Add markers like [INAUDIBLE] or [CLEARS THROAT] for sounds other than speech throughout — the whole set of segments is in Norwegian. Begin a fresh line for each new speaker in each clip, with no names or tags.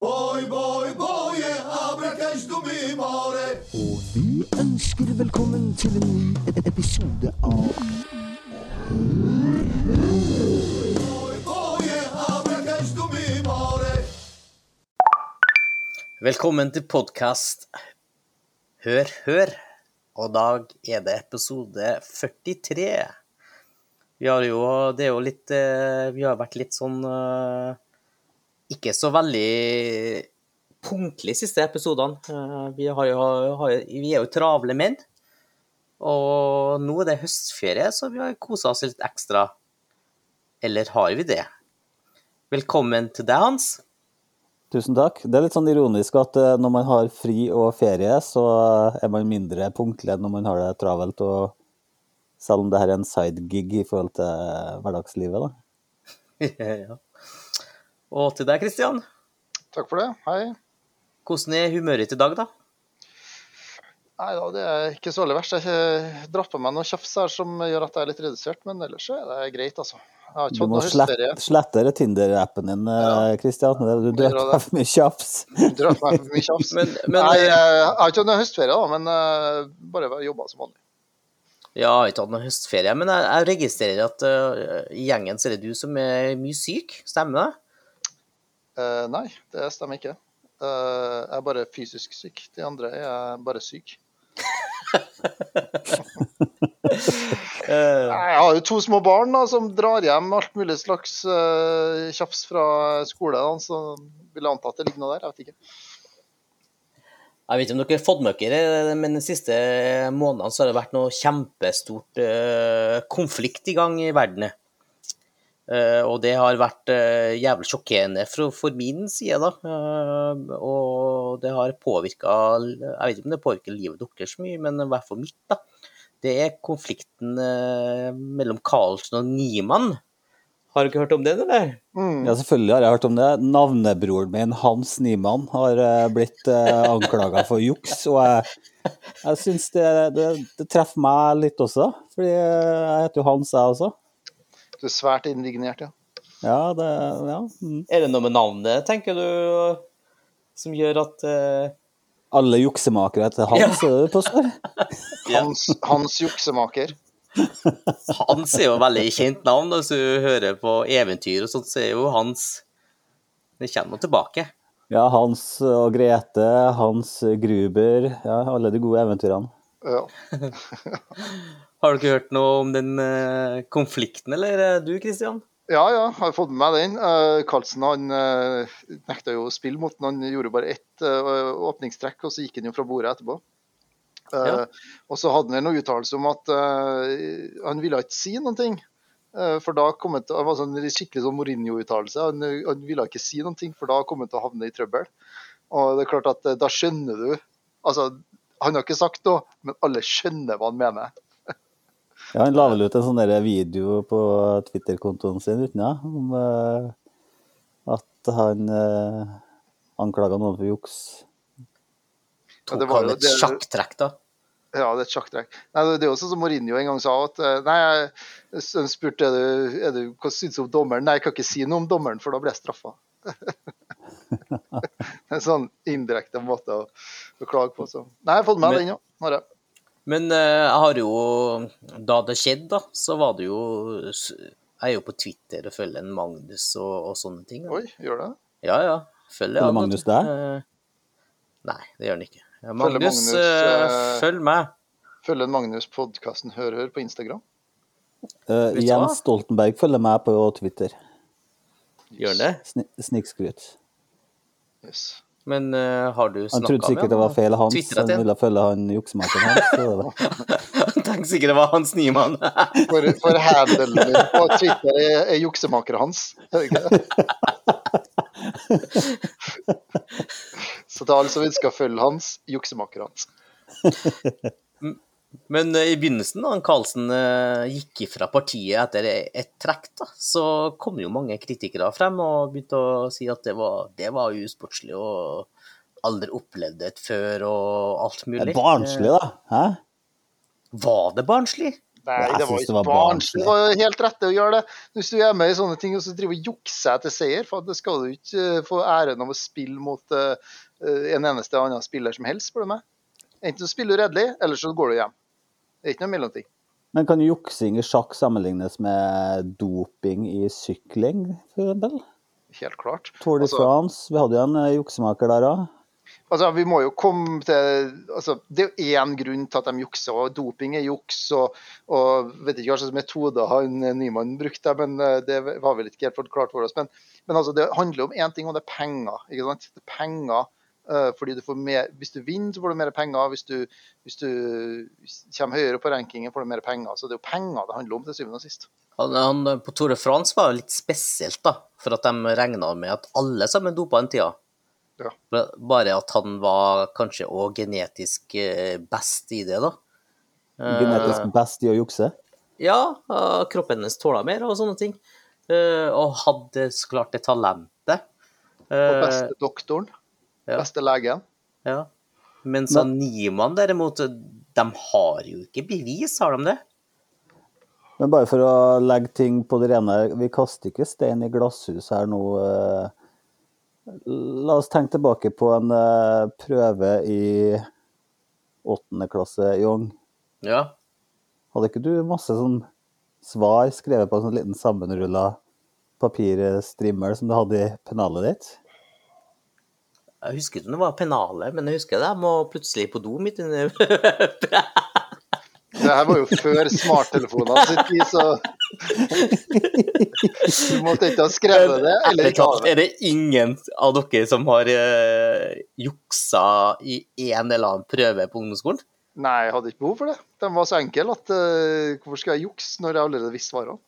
boy, boy, boye, abrakes du mimare.
Og vi ønsker velkommen til en ny e- episode av
Boy, boye, abrakes du mimare.
Velkommen til podkast Hør, hør. Og i dag er det episode 43. Vi har jo Det er jo litt eh, Vi har vært litt sånn eh, Ikke så veldig punktlig siste episodene. Eh, Vi, har jo, har, jo- vi er jo travle menn. Og nå er det høstferie, så vi har kosa oss litt ekstra. Eller har vi det? Velkommen til deg, Hans.
Tusen takk. Det er litt sånn ironisk at eh, når man har fri og ferie, så eh, er man mindre punktlig enn når man har det travelt, og selv om det her er en sidegig i forhold til eh, hverdagslivet, da.
[LAUGHS] ja. Og til deg, Kristian.
Takk for det. Hei.
Hvordan er humøret i dag, da?
Nei da, det er ikke så veldig verst. Jeg eh, drar på meg noe tjafs her som gjør at jeg er litt redusert, men ellers er det greit, altså. Jeg har ikke
Du
hatt
må
noe høstferie.
slette, slette det Tinder-appen din, eh, Kristian. Det- Du
må
drar
gjøre
deg for mye tjafs.
Drar på meg for mye tjafs.
[LAUGHS] Men, eh, men
Nei, jeg har ikke hatt noe høstferie, da, men eh, bare jobba som vanlig.
Ja, jeg har ikke hatt noen høstferie, men jeg, jeg registrerer at øh, i gjengen så er det du som er mye syk, stemmer det?
Eh, nei, det stemmer ikke. Eh, jeg er bare fysisk syk. De andre er bare syke.
Eh,
Jeg har jo to små barn da, som drar hjem alt mulig slags eh, tjafs fra skole, da, så vil jeg anta at det ligger noe der. Jeg vet ikke.
jeg vet ikke om dere har fått med dere, men de siste eh, månedene så har det vært noe kjempestort øh, konflikt i gang i verden. Eh, og det har vært eh, jævlig sjokkerende for, for min side, da. Eh, og det har påvirka Jeg vet ikke om det påvirker livet deres så mye, men i hvert fall mitt, da. Det er konflikten eh, mellom Karlsen og Niemann. Har du ikke hørt om den, eller?
Mm.
Ja, selvfølgelig har jeg hørt om det. Navnebroren min, Hans Niemann, har eh, blitt anklaga for juks, og jeg, jeg syns det, det, det treffer meg litt også, fordi eh, jeg heter jo Hans, jeg også.
Du er svært indignert, ja.
Ja, det ja. Mm.
Er det noe med navnet, tenker du, som gjør at eh,
Alle juksemakere heter Hans, eh, er det det påstår?
Ja.
Hans, Hans juksemaker.
Hans er jo et veldig kjent navn. Hvis du hører på eventyr og sånt, så er jo Hans Det kommer jo tilbake.
Ja, Hans og Grete, Hans Gruber, ja, alle de gode eventyrene.
Ja.
Har du ikke hørt noe om den eh, konflikten, eller eh, du, Kristian?
ja, ja, jeg har fått med meg den. Eh, Carlsen han eh, nekta jo å spille mot den. Han gjorde bare ett eh, åpningstrekk, og så gikk han jo fra bordet etterpå. Eh,
Ja.
Og så hadde han vel noen uttalelse om at eh, han ville ikke si noen ting. eh, for da kom han til, det var sånn en skikkelig sånn Mourinho-uttalelse. Han, eh, han ville ikke si noen ting, for da kom han til å havne i trøbbel. Og det er klart at eh, da skjønner du Altså, han har ikke sagt noe, men alle skjønner hva han mener.
Ja, han la vel ut en sånn der video på Twitter-kontoen sin uten det, om eh, at han uh, anklaga noen for juks.
Ja,
Tok
det var
han
jo-
et
det-
sjakktrekk, da?
Ja, det er et sjakktrekk. Nei, Det det er jo sånn som Mourinho en gang sa at eh, Nei, jeg s- han spurte er du, er du, hva syns du om dommeren. Nei, jeg kan ikke si noe om dommeren, for da blir jeg straffa. en sånn indirekte måte å, å klage på. Så. Nei, jeg har fått med
Men-
den òg. Har jeg.
Men eh, jeg har jo Da det skjedde, da, så var det jo Jeg er jo på Twitter og følger en Magnus og, og sånne ting. Da.
Oi, gjør det?
Ja, ja. Følger,
Følger
han,
Magnus
vet
deg?
du. Eh, Nei, det gjør han ikke. Ja, Magnus,
Magnus,
eh,
eh,
følg meg.
Følger en Magnus podkasten Hør Hør på Instagram?
Eh,
Vet du hva?
Jens Stoltenberg følger meg på Twitter.
Gjør han det?
Sni Snikskryt.
Yes.
Men eh, har du
Han
snakka med
trodde sikkert det var feil hans,
Twitteret
han
til
ville følge han juksemakeren hans. så det var-
[LAUGHS] Han tenkte sikkert det var Hans Niemann.
For, for handelen min på Twitter er, er juksemakeren hans. Er det ikke det? Så til alle som ønsker å følge hans, juksemaker hans.
[LAUGHS] Men eh, i begynnelsen, da han Karlsen eh, gikk ifra partiet etter et trekk, da, så kom jo mange kritikere frem og begynte å si at det var, det var usportslig og aldri opplevd det før og alt
Det
mulig.
er barnslig, da. Hæ?
Eh, Var det barnslig?
Nei,
Jeg
det var
synes det
ikke
var
barnslig.
barnslig.
Det var helt rett å gjøre det. Hvis du er med i sånne ting og så driver og jukser etter seier, for da skal du ikke eh, få æren av å spille mot eh, eh, en eneste annen spiller som helst, spør du meg. Enten så spiller du redelig, eller så går du hjem. Det er ikke noe mellomting.
Men kan juksing i sjakk sammenlignes med doping i sykling, f.eks.?
Helt klart.
Tour de
Altså-
France, vi hadde jo en eh, juksemaker der òg.
Altså, vi må jo komme til altså, Det er jo én grunn til at de jukser, og doping er juks. Og, og vet ikke hva slags metoder han eh, Nyman brukte, men eh, det var vel ikke helt for klart for oss. Men, men altså, det handler om én ting, og det er penger. ikke sant? Det er penger eh, fordi du får mer, Hvis du vinner, så får du mer penger. Hvis du, hvis du kommer høyere på rankingen, får du mer penger. Så det er jo penger det handler om til syvende og sist.
Han, han på Tour de France var jo litt spesielt, da, for at de regna med at alle sammen dopa den tida.
Ja.
Ba- Bare at han var kanskje òg genetisk eh, best i det, da. Eh,
Genetisk best i å jukse.
Ja, eh, kroppen hennes tåla mer og sånne ting. Eh, og hadde så klart det talentet.
Og
Eh,
beste doktoren,
ja.
beste legen.
ja. Mens
Men-
han Niemann, derimot, de har jo ikke bevis, har de det?
Men bare for å legge ting på det rene, vi kaster ikke stein i glasshus her nå. eh. La oss tenke tilbake på en eh, prøve i åttende klasse i Ung.
Ja.
Hadde ikke du masse sånn svar skrevet på en sånn liten sammenrulla papirstrimmel som du hadde i pennalet ditt?
Jeg husker ikke om det var pennalet, men jeg husker det. Jeg må plutselig på do midt inni
Det her var jo før smarttelefonene sin tid, så du måtte ikke ha skrevet det. Eller
Ærlig
ikke ha
talt,
det.
er det ingen av dere som har eh, juksa i en eller annen prøve på ungdomsskolen?
Nei, jeg hadde ikke behov for det. De var så enkle at eh, hvorfor skal jeg jukse når jeg allerede visste svarene?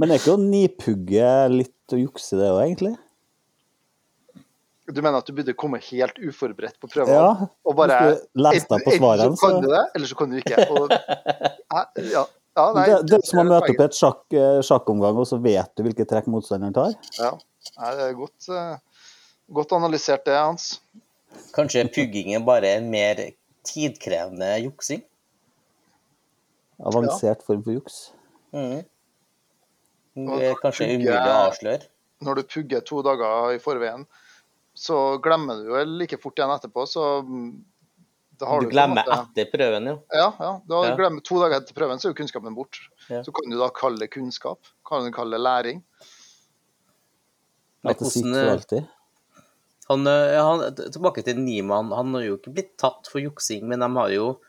Men det er ikke å nipugge litt og jukse det òg, egentlig?
Du mener at du burde komme helt uforberedt på prøven?
Ja,
og bare
hvis du leste deg på svarene,
Enten så kan
så-
du det, eller så kan du ikke. Og, Hæ? ja, ja, nei,
det, det er som å
ser
møte opp i
poenget.
et sjakk, eh, sjakkomgang, og så vet du hvilke trekk motstanderen tar.
Ja, nei, det er godt, eh, godt analysert, det, Hans.
Kanskje puggingen bare er en mer tidkrevende juksing?
Avansert form for juks.
Mhm.
Og
Det er
når du
kanskje
pugger-
umulig å avsløre.
Når du pugger to dager i forveien, så glemmer du vel like fort igjen etterpå, så mm, da har
Du
du, på en
glemmer
måte-
etter prøven, jo.
Ja, ja. Da
Ja.
glemmer To dager etter prøven, så er jo kunnskapen borte.
Ja.
Så kan du da kalle det kunnskap. Kan du kalle det læring.
Men
At det sitter for
hvordan, eh,
alltid.
Han, eh, ja, han, t- tilbake til Niemann. Han har jo ikke blitt tatt for juksing, men de har jo,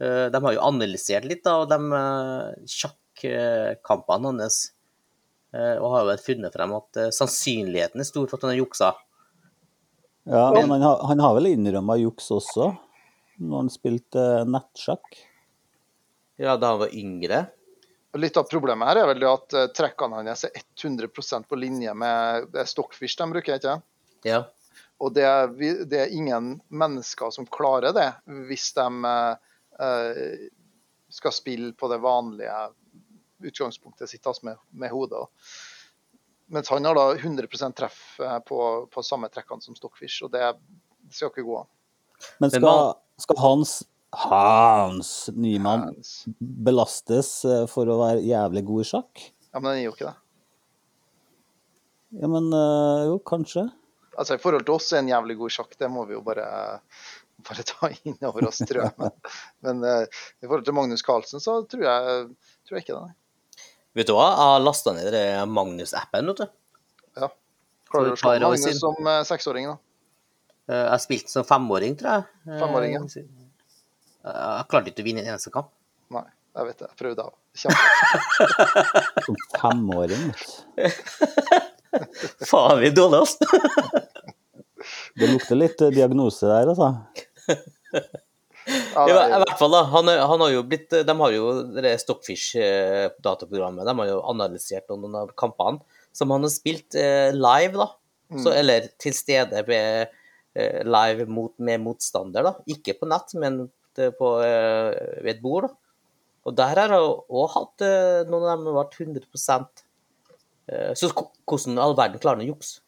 eh, de har jo analysert litt av de eh, sjakkampene hans. eh, Og har vel funnet frem at eh, sannsynligheten er stor for at han har juksa.
Ja, men han, har- han har vel innrømma juks også, når han spilte eh, nettsjakk.
Ja, da han var yngre.
Og Litt av problemet her er vel det at eh, trekkene hans er 100 på linje med det er stockfish de bruker, ikke sant?
Ja.
Og det er, vi- det er ingen mennesker som klarer det, hvis de eh, eh, skal spille på det vanlige utgangspunktet sitt, altså med, med hodet. Mens han har da 100 treff eh, på, på samme trekkene som stockfish, og det, det skal ikke gå an.
Men
Men
skal, skal Hans Hans Nyman
Hands.
belastes eh, for å være jævlig god i sjakk?
Ja, men den er jo ikke det.
Ja, men eh, jo, kanskje.
Altså, I forhold til oss er en jævlig god sjakk, det må vi jo bare, bare ta inn over oss, tror jeg. Men, men eh, i forhold til Magnus Carlsen, så tror jeg, tror jeg ikke det. nei.
vet du hva, jeg har lasta ned det Magnus-appen, vet du.
Ja. Klarer
For
du å slå
et par år siden.
Magnus som eh, seksåring, da?
Eh, Jeg spilte som femåring, tror jeg. Eh,
Femåring, ja.
eh, Jeg klarte ikke å vinne en eneste kamp.
Nei, jeg vet det. Jeg prøvde av.
[LAUGHS]
Kjempe.
Som femåring. vet du.
Faen, vi er dårlige, altså.
Det lukter litt eh, diagnose der, altså.
Ja,
I hver- i
nei,
hvert fall, da. Han, er- han har jo blitt De har jo det Stockfish-dataprogrammet. De har jo analysert noen av kampene som han har spilt eh, live, da. Så, eller til stede ved, eh, live mot, med motstander, da. Ikke på nett, men det på, eh, ved et bord, da. Og der har jeg òg hatt eh, noen av dem har vært 100 eh, Så ko- hvordan i all verden klarer han å jukse?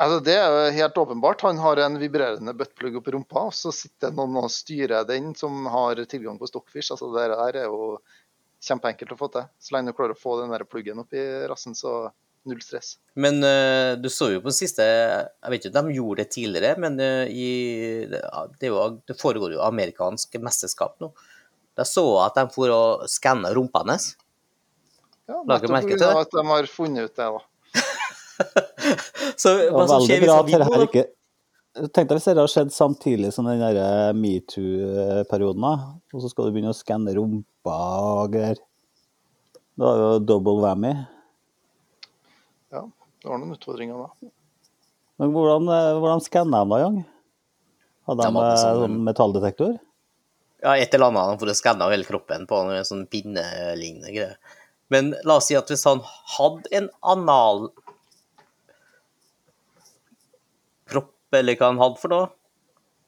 Altså, det er jo helt åpenbart. Han har en vibrerende buttplug oppi rumpa, og så sitter det noen og styrer den som har tilgang på stokkfisk. Altså, det der er jo kjempeenkelt å få til. Så lenge du klarer å få den der pluggen oppi rassen, så null stress.
Men eh, du så jo på den siste Jeg vet ikke om de gjorde det tidligere, men eh, i, det, er jo, det foregår jo amerikansk mesterskap nå. Da så jeg at de for å skanne rumpa hennes.
Ja,
Lager
nettopp
merke til
pga.
det.
at de har funnet ut det, da.
Så
Det
[LAUGHS] hva
var
som
veldig
skjer hvis
bra
vi
at dette
går, da?
ikke Tenk deg hvis dette har skjedd samtidig som den der eh, metoo-perioden, da. Og så skal du begynne å skanne rumpa og greier. Da er det jo double whammy.
Ja, det var noen utfordringer da.
Men hvordan, eh, hvordan skanna de da, Young? Hadde
De
de
hadde
eh,
sånn-
sånn metalldetektor?
Ja, et eller annet for å skanne hele kroppen på en sånn pinnelignende greie. Men la oss si at hvis han hadde en analpropp, eller hva han hadde for noe,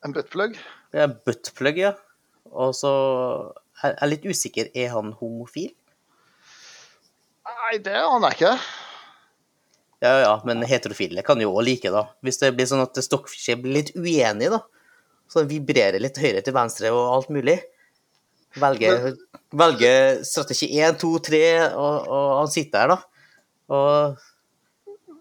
En buttplug?
det er buttplug, ja. Og så jeg er litt usikker, er han homofil?
Nei, det aner jeg ikke.
Ja, ja, men heterofile kan jo òg like, da. Hvis det blir sånn at stokkfisker blir litt uenig, da. Så den vibrerer litt høyre til venstre og alt mulig. Velger, velger strategi én, to, tre, og, og han sitter her, da. Og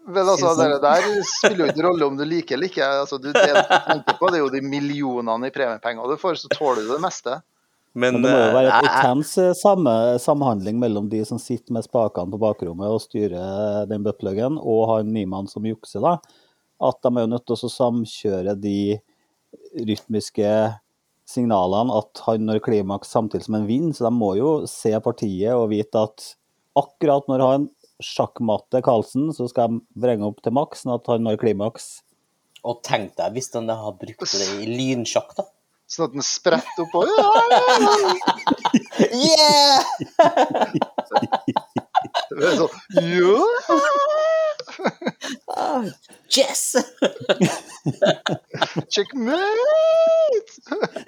Vel, altså,
Synes han-
det der spiller jo ikke rolle om du liker eller ikke. Altså, du, det du tenker på, det er jo de millionene i premiepenger du får, så tåler du det meste.
Men det må jo
eh,
være et
jeg- jeg-
intens eh, samme, samhandling mellom de som sitter med spakene på bakrommet og styrer den buttpluggen, og han Niemann som jukser, da. At de er jo nødt til å samkjøre de rytmiske signalene at han når klimaks samtidig som han vinner, så de må jo se partiet og vite at akkurat når han sjakkmatter Karlsen, så skal de vrenge opp til maks, sånn at han når klimaks.
Og tenk deg hvis den har brukt det i lynsjakk, da.
Sånn at den spretter opp og ja,
Yeah!
Det er sånn, ja.
[LAUGHS] Yes!
Checkmate!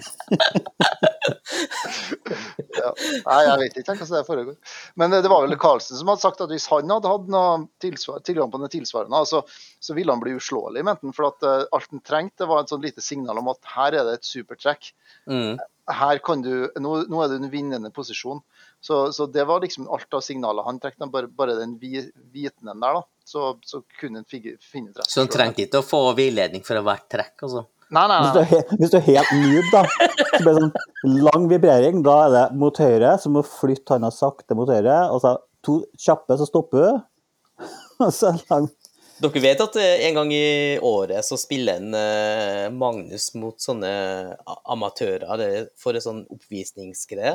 ja. Nei, jeg vet ikke hvordan det foregår. Men eh, det var vel Karlsen som hadde sagt at hvis han hadde hatt noe tilsvar, tilgang på noe tilsvarende, altså, så ville han bli uslåelig, mente han. For at eh, alt han trengte, var et sånn lite signal om at her er det et supertrekk.
Mm.
Her kan du, nå, nå er du i en vinnende posisjon. Så, så det var liksom alt av signaler han trekte. Bare, bare den vi, vitenden der, da. Så, så kunne han figge- finne ut rett.
Så den trengte ikke å få veiledning for hvert trekk, altså.
Nei, nei,
Hvis du, er,
nei.
he- hvis du er helt noob, da, så blir det sånn lang vibrering. Da er det mot høyre, så må du flytte handa sakte mot høyre. Og så to kjappe, så stopper du. [LAUGHS] Og så lang
Dere vet at eh, en gang i året så spiller en eh, Magnus mot sånne a- amatører det er for en sånn oppvisningsgreie.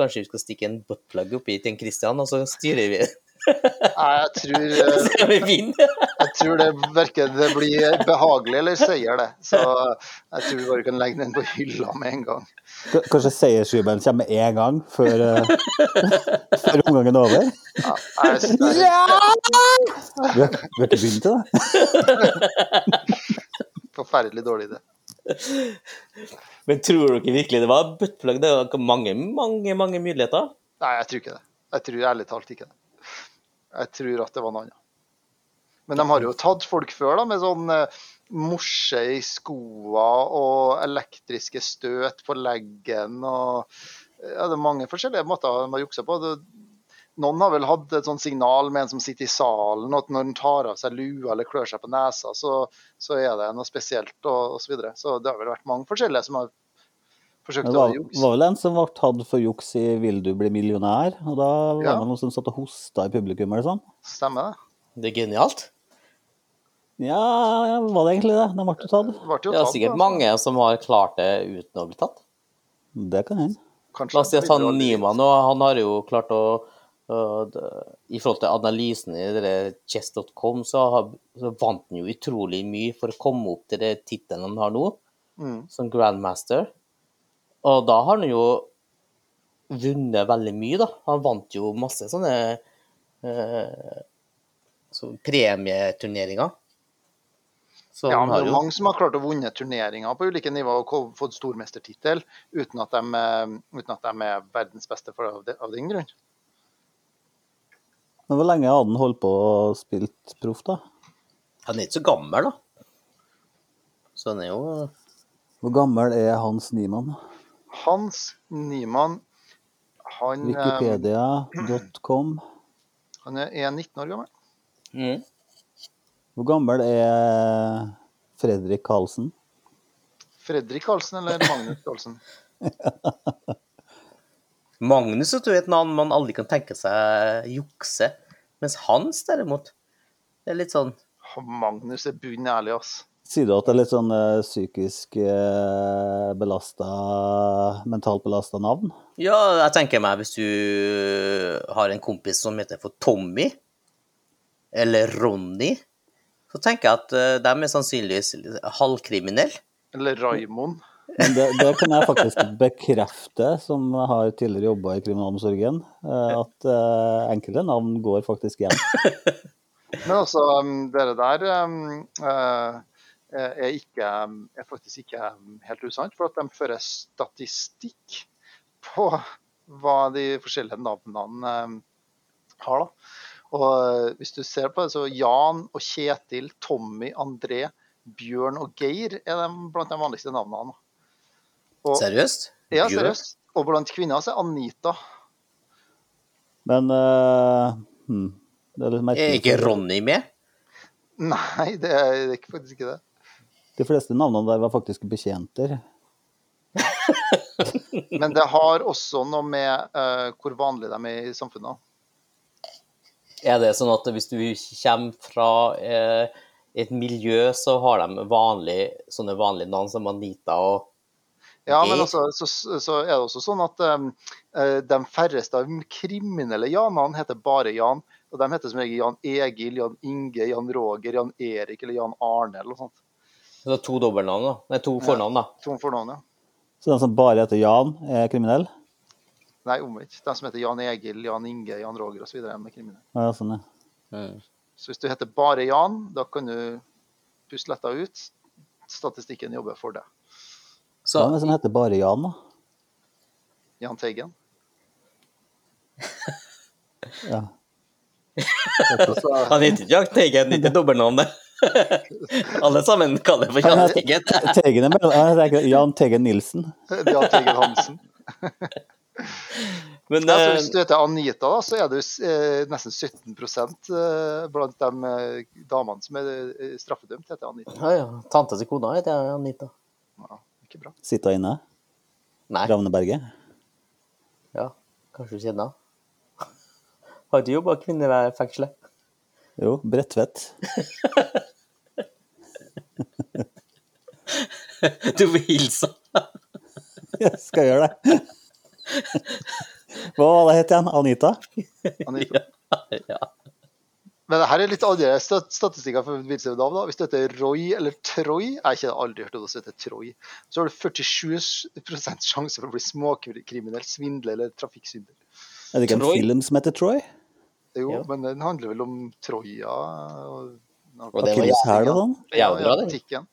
Kanskje vi skal stikke en buttplug oppi til en Christian, og så styrer vi. [LAUGHS]
Nei, jeg tror eh,
Så vi vinner.
Jeg tror det verken det blir behagelig eller seier, det. Så jeg tror vi bare kan legge den på hylla med en gang.
K- Kanskje seiersjubelen kommer med en gang før, eh, [LAUGHS] før omgangen er over.
Ja, jeg synes det er-
Vi har, vi har ikke begynt til det.
Forferdelig dårlig idé.
Men tror dere virkelig det var buttplug? Det var mange, mange, mange muligheter.
Nei, jeg tror ikke det. Jeg tror ærlig talt ikke det. Jeg tror at det var noe annet. Men de har jo tatt folk før da, med sånn eh, morse i skoa og elektriske støt på leggen og ja, Det er mange forskjellige måter de har juksa på. Det, noen har vel hatt et sånt signal med en som sitter i salen, at når han tar av seg lua eller klør seg på nesa, så, så er det noe spesielt, og osv. Så, videre. så det har vel vært mange forskjellige som har forsøkt
Det
å
var,
jukse.
var vel en som ble tatt for juks i 'Vil du bli millionær'? Og da var
Ja.
det noen som satt og hosta i publikum eller sånn.
Stemmer det?
Det er genialt.
Ja, ja, var det egentlig det? De ble jo tatt.
Det ble jo
Det
altså.
er
tatt,
sikkert
da, så
mange som har klart det uten å bli tatt.
Det kan hende.
kanskje
La oss si
de
at han
aldri vil.
Niemann nå, han har jo klart å øh, d- I forhold til analysen i det der chess.com, så, har- så vant han jo utrolig mye for å komme opp til det tittelen han har nå,
Mm.
som grandmaster. Og da har han jo vunnet veldig mye, da. Han vant jo masse sånne øh, så premieturneringer. Så
Ja,
han
men det
har
er
jo
mange som har klart å vunne turneringer på ulike nivåer og ko- fått stormestertittel uten at de, eh, uten at de er verdens beste for, av, de, av den grunn.
Men hvor lenge hadde han holdt på og spilt proff, da?
Han er ikke så gammel, da. Så han er jo
Hvor gammel er Hans Niemann?
Hans Niemann, han, eh,
Wikipedia.com.
han er er 19 år gammel. Mm.
Hvor gammel er Fredrik Karlsen?
Fredrik Karlsen eller Magnus Karlsen?
Magnus vet du, er et navn man aldri kan tenke seg jukse. Mens Hans, derimot, det er litt sånn
Magnus er bunn ærlig, ass.
Sier du at det er litt sånn eh, psykisk eh, belasta Mentalt belasta navn?
Ja, jeg tenker meg hvis du har en kompis som heter for Tommy, eller Ronny, så tenker jeg at eh, de er sannsynligvis halvkriminelle.
Eller Raimond.
Men det, det kan jeg faktisk bekrefte, som har tidligere jobba i kriminalomsorgen, eh, at eh, enkelte navn går faktisk igjen.
Men altså, um, dere der um, eh, er, ikke, um, er faktisk ikke um, helt usant, for at de fører statistikk på hva de forskjellige navnene um, har. da. Og eh, hvis du ser på det, så Jan og Kjetil, Tommy, André, Bjørn og Geir er de blant de vanligste navnene. Og,
Seriøst?
Ja,
Bjørn?
seriøst. Og blant kvinner så er Anita [LAUGHS]
Men eh, hm, det er litt merkelig.
Er ikke
for
Ronny med?
Nei, det er det er ikke- faktisk ikke det.
De fleste navnene der var faktisk betjenter.
Men det har også noe med eh, hvor vanlig de er i samfunnet.
Er det sånn at hvis du kommer fra eh, et miljø, så har de vanlig, sånne vanlige navn som Anita og
Ja, men
Geir?
altså, så, så er det også sånn at eh, de færreste av de kriminelle Janene heter bare Jan. Og de heter som regel Jan Egil, Jan Inge, Jan Roger, Jan Erik eller Jan Arne eller noe sånt.
Så det er to dobbeltnavn, da. Nei, to
Ja.
fornavn, da.
Tom fornavn, ja.
Så den som bare heter Jan, er kriminell?
Nei, omvendt. De som heter Jan Egil, Jan Inge, Jan Roger osv. er kriminelle.
Ja, sånn, ja.
Så hvis du heter bare Jan, da kan du puste letta ut. Statistikken jobber for deg.
Så
Hvem er det som heter bare Jan, da?
Jan Teigen.
[LAUGHS]
Ja.
Altså,
han heter ikke Jan Teigen, ikke dobbeltnavnet. [LAUGHS] Alle sammen kaller det for Jan Teigen. [LAUGHS]
Teigen er mellom, jeg tenker Jan Teigen Nilsen.
Jan Eh, Teigen Hansen.
Men
Ja, så
eh,
hvis du heter Anita, da, så er du eh, nesten 17 eh, blant de eh, damene som er eh, straffedømt, heter Anita.
ja, ja. Tante til kona heter jeg, Anita.
Ja, ikke bra.
Sitter inne.
Nei.
Ravneberget.
Ja, kanskje du kjenner henne? [LAUGHS] Har ikke jobba i kvinnefengselet.
Jo, Bredtvet.
[LAUGHS]
[LAUGHS]
Du vil hilse.
Jeg skal gjøre det. Hva var det het igjen? Anita?
Anita.
Ja. [LAUGHS] ja.
Men det her er litt annerledes stat- statistikker for Wilson Dav. da. Hvis du heter Roy eller Troy Jeg har ikke aldri hørt om det som heter Troy. Så har du 47 sjanse for å bli småkriminell, svindler eller trafikksynder.
Er det ikke en
Troy?
film som heter Troy?
Jo,
Ja.
men den handler vel om Troja og,
Og det var
Akilleshæl og
jævlig-
sånn?
Ja,
Jævlig
ja,
bra, den.
tikken.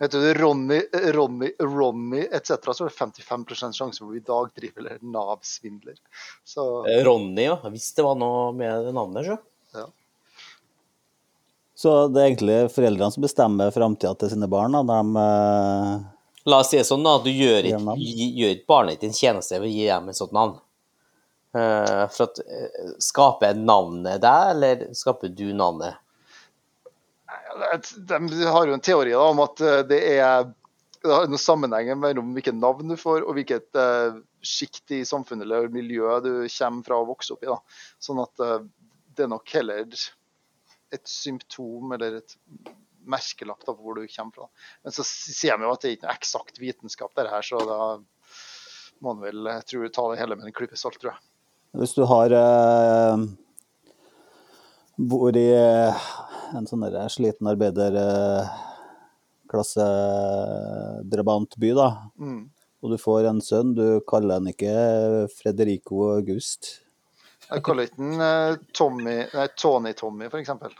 Vet du, Ronny, Ronny, Ronny etc., så er det 55 sjanse for å bli dagdriver eller Nav-svindler. Så
Eh, Ronny, ja. Hvis det var noe med det navnet, så.
ja.
Så det er egentlig foreldrene som bestemmer framtida til sine barn. Da. De, eh,
La oss si det sånn, da. Du gjør
Gir
ikke,
navn.
gi- gjør ikke barnet ditt en tjeneste ved å gi dem et sånt navn. Eh, for at eh, Skaper navnet deg, eller skaper du navnet?
De har jo en teori da, om at eh, det er det har noen sammenhenger mellom hvilket navn du får, og hvilket eh, sjikt i samfunnet eller miljø du kommer fra og vokser opp i. Da. Sånn at eh, det er nok heller et symptom eller et merkelapp da, på hvor du kommer fra. Men så sier de jo at det er ikke noe eksakt vitenskap, det her, så da må man vel jeg tror, ta det hele med en klype salt, tror jeg.
hvis du har eh, Bor i eh, en sånn der sliten eh, arbeiderklassedrabantby, eh, da.
Mm.
Og du får en sønn, du kaller han ikke eh, Frederico August.
Jeg kaller ikke den eh, Tommy, nei, Tony Tommy, for eksempel.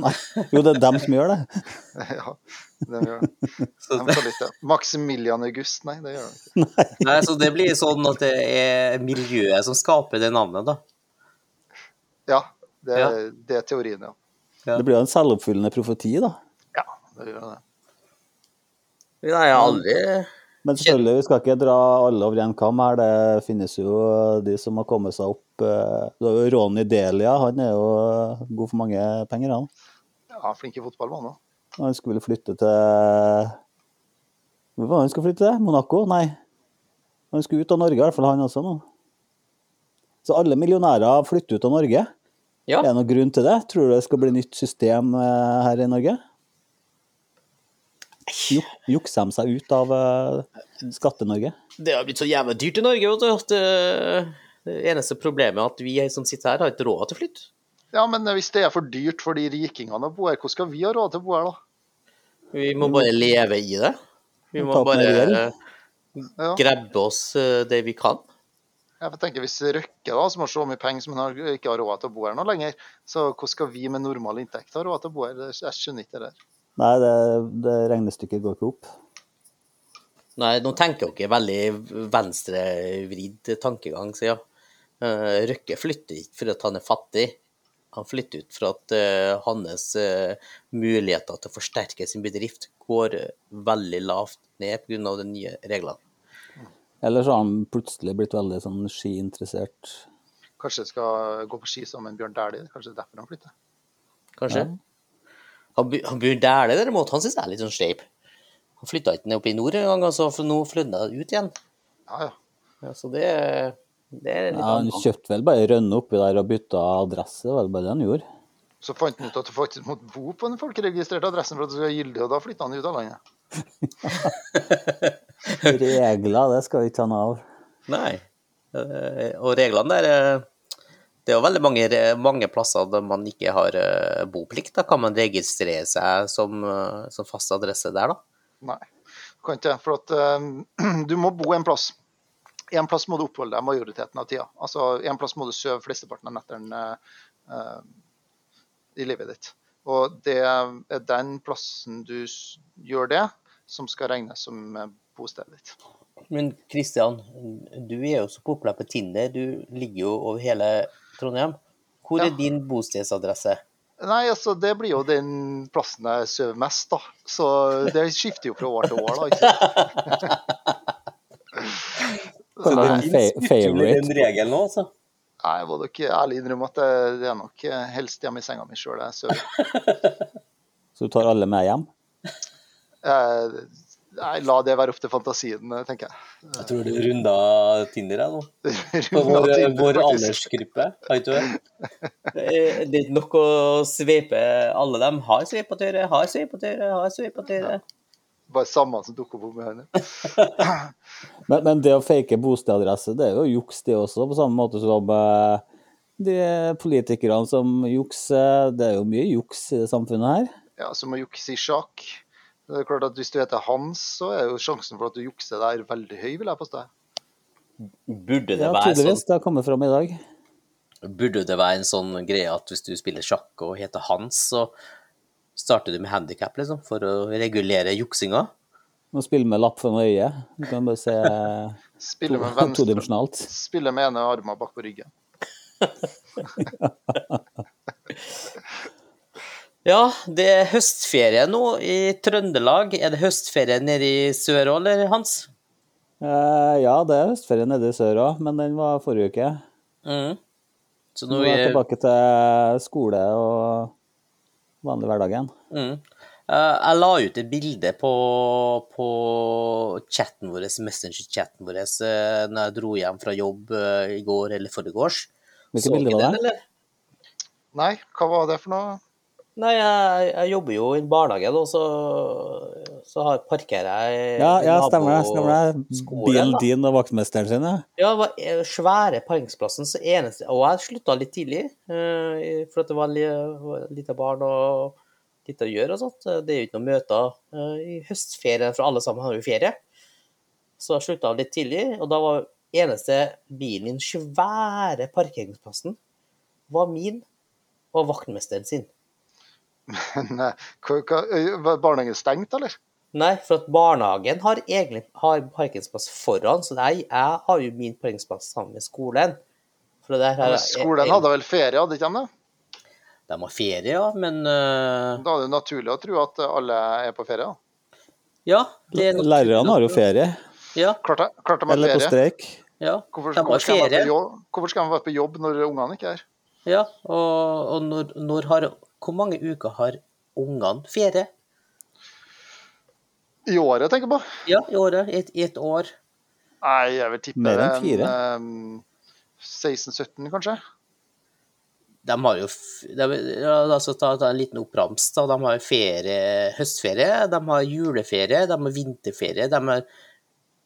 Nei, jo, det er dem som gjør det.
[LAUGHS] ja, det gjør det. [LAUGHS] De kaller ikke det. Maximilian August, nei, det gjør de ikke.
Nei, så det blir sånn at det er miljøet som skaper det navnet, da.
Ja, det,
Ja.
det er teorien, ja.
Ja.
Det blir jo en selvoppfyllende profeti, da.
Ja, det gjør det.
Nei, jeg har aldri
Men selvfølgelig, vi skal ikke dra alle over en kam her. Det finnes jo de som har kommet seg opp. eh, Du har jo Ronny Delia, han er jo eh, god for mange penger, han.
Ja, flink i fotball, man òg.
Og Han skulle flytte til Hvor var det han skulle flytte til? Monaco? Nei. Han skulle ut av Norge, i hvert fall han også nå. Så alle millionærer flytter ut av Norge.
Ja.
Er det noen grunn til det? Tror du det skal bli nytt system eh, her i Norge? Juk, jukser de seg ut av eh, Skatte-Norge?
Det har blitt så jævla dyrt i Norge, vet du. At det, det eneste problemet er at vi som sitter her, har ikke råd til å flytte.
Ja, men hvis det er for dyrt for de rikingene å bo her, hvordan skal vi ha råd til å bo her, da?
Vi må bare leve i det. Vi
Vi
må
tar Mm. opp
bare
mer gjeld.
eh,
Ja.
grabbe oss eh, det vi kan.
Ja, for Jeg tenker Hvis Røkke, da, som har så mye penger som han har, ikke har råd til å bo her nå lenger, så hvordan skal vi med normal inntekt ha råd til å bo her? Det- Jeg skjønner ikke det der.
Nei, det, det regnestykket går ikke opp.
Nei, nå tenker dere veldig venstrevridd tankegang, så ja. Eh, Røkke flytter ikke fordi at han er fattig. Han flytter ut for at eh, hans eh, muligheter til å forsterke sin bedrift går eh, veldig lavt ned pga. de nye reglene.
Eller så har han plutselig blitt veldig sånn skiinteressert.
Kanskje jeg skal gå på ski sammen med Bjørn Dæhlie? Kanskje det er derfor han flytter?
kanskje. Han, bu- han bor der, det derimot. Han syns jeg er litt sånn shape. Han flytta ikke ned oppe i nord engang, så for nå flytta han ut igjen.
Ja, ja.
Ja, så det, det er litt
Ja, han
annet.
kjøpte vel bare Rønne oppi der og bytta adresse, det var bare det han gjorde.
Så fant han ut at du faktisk måtte bo på den folkeregistrerte adressen for at du skulle være gyldig, og da flytta han ut av landet.
Regler, det skal vi ikke ta noe av.
Nei. Eh, Og reglene der eh, Det er jo veldig mange, mange plasser der man ikke har eh, boplikt. Da kan man registrere seg som, eh, som fast adresse der, da.
Nei, du kan ikke, for at eh, [CLEARS THROAT] du må bo en plass. En plass må du oppholde deg majoriteten av tida. Altså, en plass må du sove flesteparten av nettene eh, i livet ditt. Og det er den plassen du s- gjør det, som skal regnes som eh, bostedet ditt.
Men Kristian, du er jo så populær på Tinder. Du ligger jo over hele Trondheim. Hvor
Ja.
er din bostedsadresse?
Nei, altså det blir jo den plassen jeg sover mest, da. Så det skifter jo fra år til år, da. ikke sant?
Kaller det en fa favorite.
regelen nå, altså.
Nei, jeg må nok ærlig innrømme at det- det er nok eh, helst hjemme i senga mi sjøl jeg sover.
Så du tar alle med hjem?
Eh, Nei, la det være opp til fantasien, eh, tenker jeg. [LAUGHS]
Jeg tror du runda Tinder jeg, nå. På
Rundt
vår,
av Tinder,
vår
faktisk.
aldersgruppe, har ikke du det? [LAUGHS] Eh, Det er ikke nok å sveipe alle dem. Har sveipet til høyre, har sveipet til høyre, har sveipet til høyre.
Bare samme som dukker opp med henne.
Men, men det å fake bostedadresse, det er jo juks, det også, på samme måte som eh, de politikerne som jukser. Det er jo mye juks i det samfunnet her.
Ja, Som å jukse i sjakk. Det er klart at Hvis du heter Hans, så er jo sjansen for at du jukser der veldig høy, vil jeg påstå.
Burde det,
Ja,
være sånn,
tydeligvis. Det har kommet fram i dag.
burde det være en sånn greie at hvis du spiller sjakk og heter Hans, så starter du med handikap, liksom, for å regulere juksinga?
Må spille med lapp for øyet. Du kan bare se
Spiller med
to-
venstre.
todimensjonalt.
Spiller med ene armen bak på ryggen.
Ja, det er høstferie nå i Trøndelag. Er det høstferie nede i sør òg, eller, Hans?
Eh, ja, det er høstferie nede i sør òg, men den var forrige uke.
Mhm. Så
Nå
nå
er jeg
er
tilbake til skole og vanlig hverdag igjen.
Mm. Eh, jeg la ut et bilde på, på chatten vår, Messenger-chatten vår eh, når jeg dro hjem fra jobb eh, i går eller forgårs.
Hvilket
Så
bilde
dere
var
den,
det?
eller?
Nei, hva var det for noe? [LAUGHS]
Nei, jeg, jeg jobber jo i en barnehage, da, så, så har, parkerer jeg
Ja,
ved
ja, stemmer det. stemmer det.
naboskolen,
Bilen
Eh, da.
din og vaktmesteren sin, ja.
Ja, det var eh, svære parkeringsplassen, så eneste Og jeg slutta litt tidlig, eh, for at det var li- var lite barn og litt å gjøre og sånt. Det er jo ikke noen møter eh, i høstferien, for alle sammen har jo ferie. Så jeg slutta litt tidlig, og da var eneste bilen i den svære parkeringsplassen var min og vaktmesteren sin.
Men, eh, hva- hva- ø, Var barnehagen stengt, eller?
Nei, for at barnehagen har egentlig har parkeringsplass foran, så nei, jeg har jo min parkeringsplass sammen med skolen. For det der
Men
her er-
Skolen hadde vel ferie, hadde ikke de det?
De har ferie, ja, men eh,
Da er det naturlig å tro at alle er på ferie. da.
Ja. det er nok-
Lærerne har jo ferie,
Ja.
Klart de- klart de har
eller på
ferie.
streik.
ja.
Hvorfor,
de
hvorfor,
har
skal de være
ferie.
på jobb, hvorfor skal de være på jobb når ungene ikke er her?
Ja, og, og når, når har Hvor mange uker har ungene ferie?
I året, tenker jeg på.
Ja, i året. I et, i et år.
Nei, jeg vil tippe
Mer enn
det er
fire.
en, eh, 16-17, kanskje.
De har jo f- de, ja, altså, ta, ta en liten opprams. Da. De har ferie, høstferie, de har juleferie, de har vinterferie, de har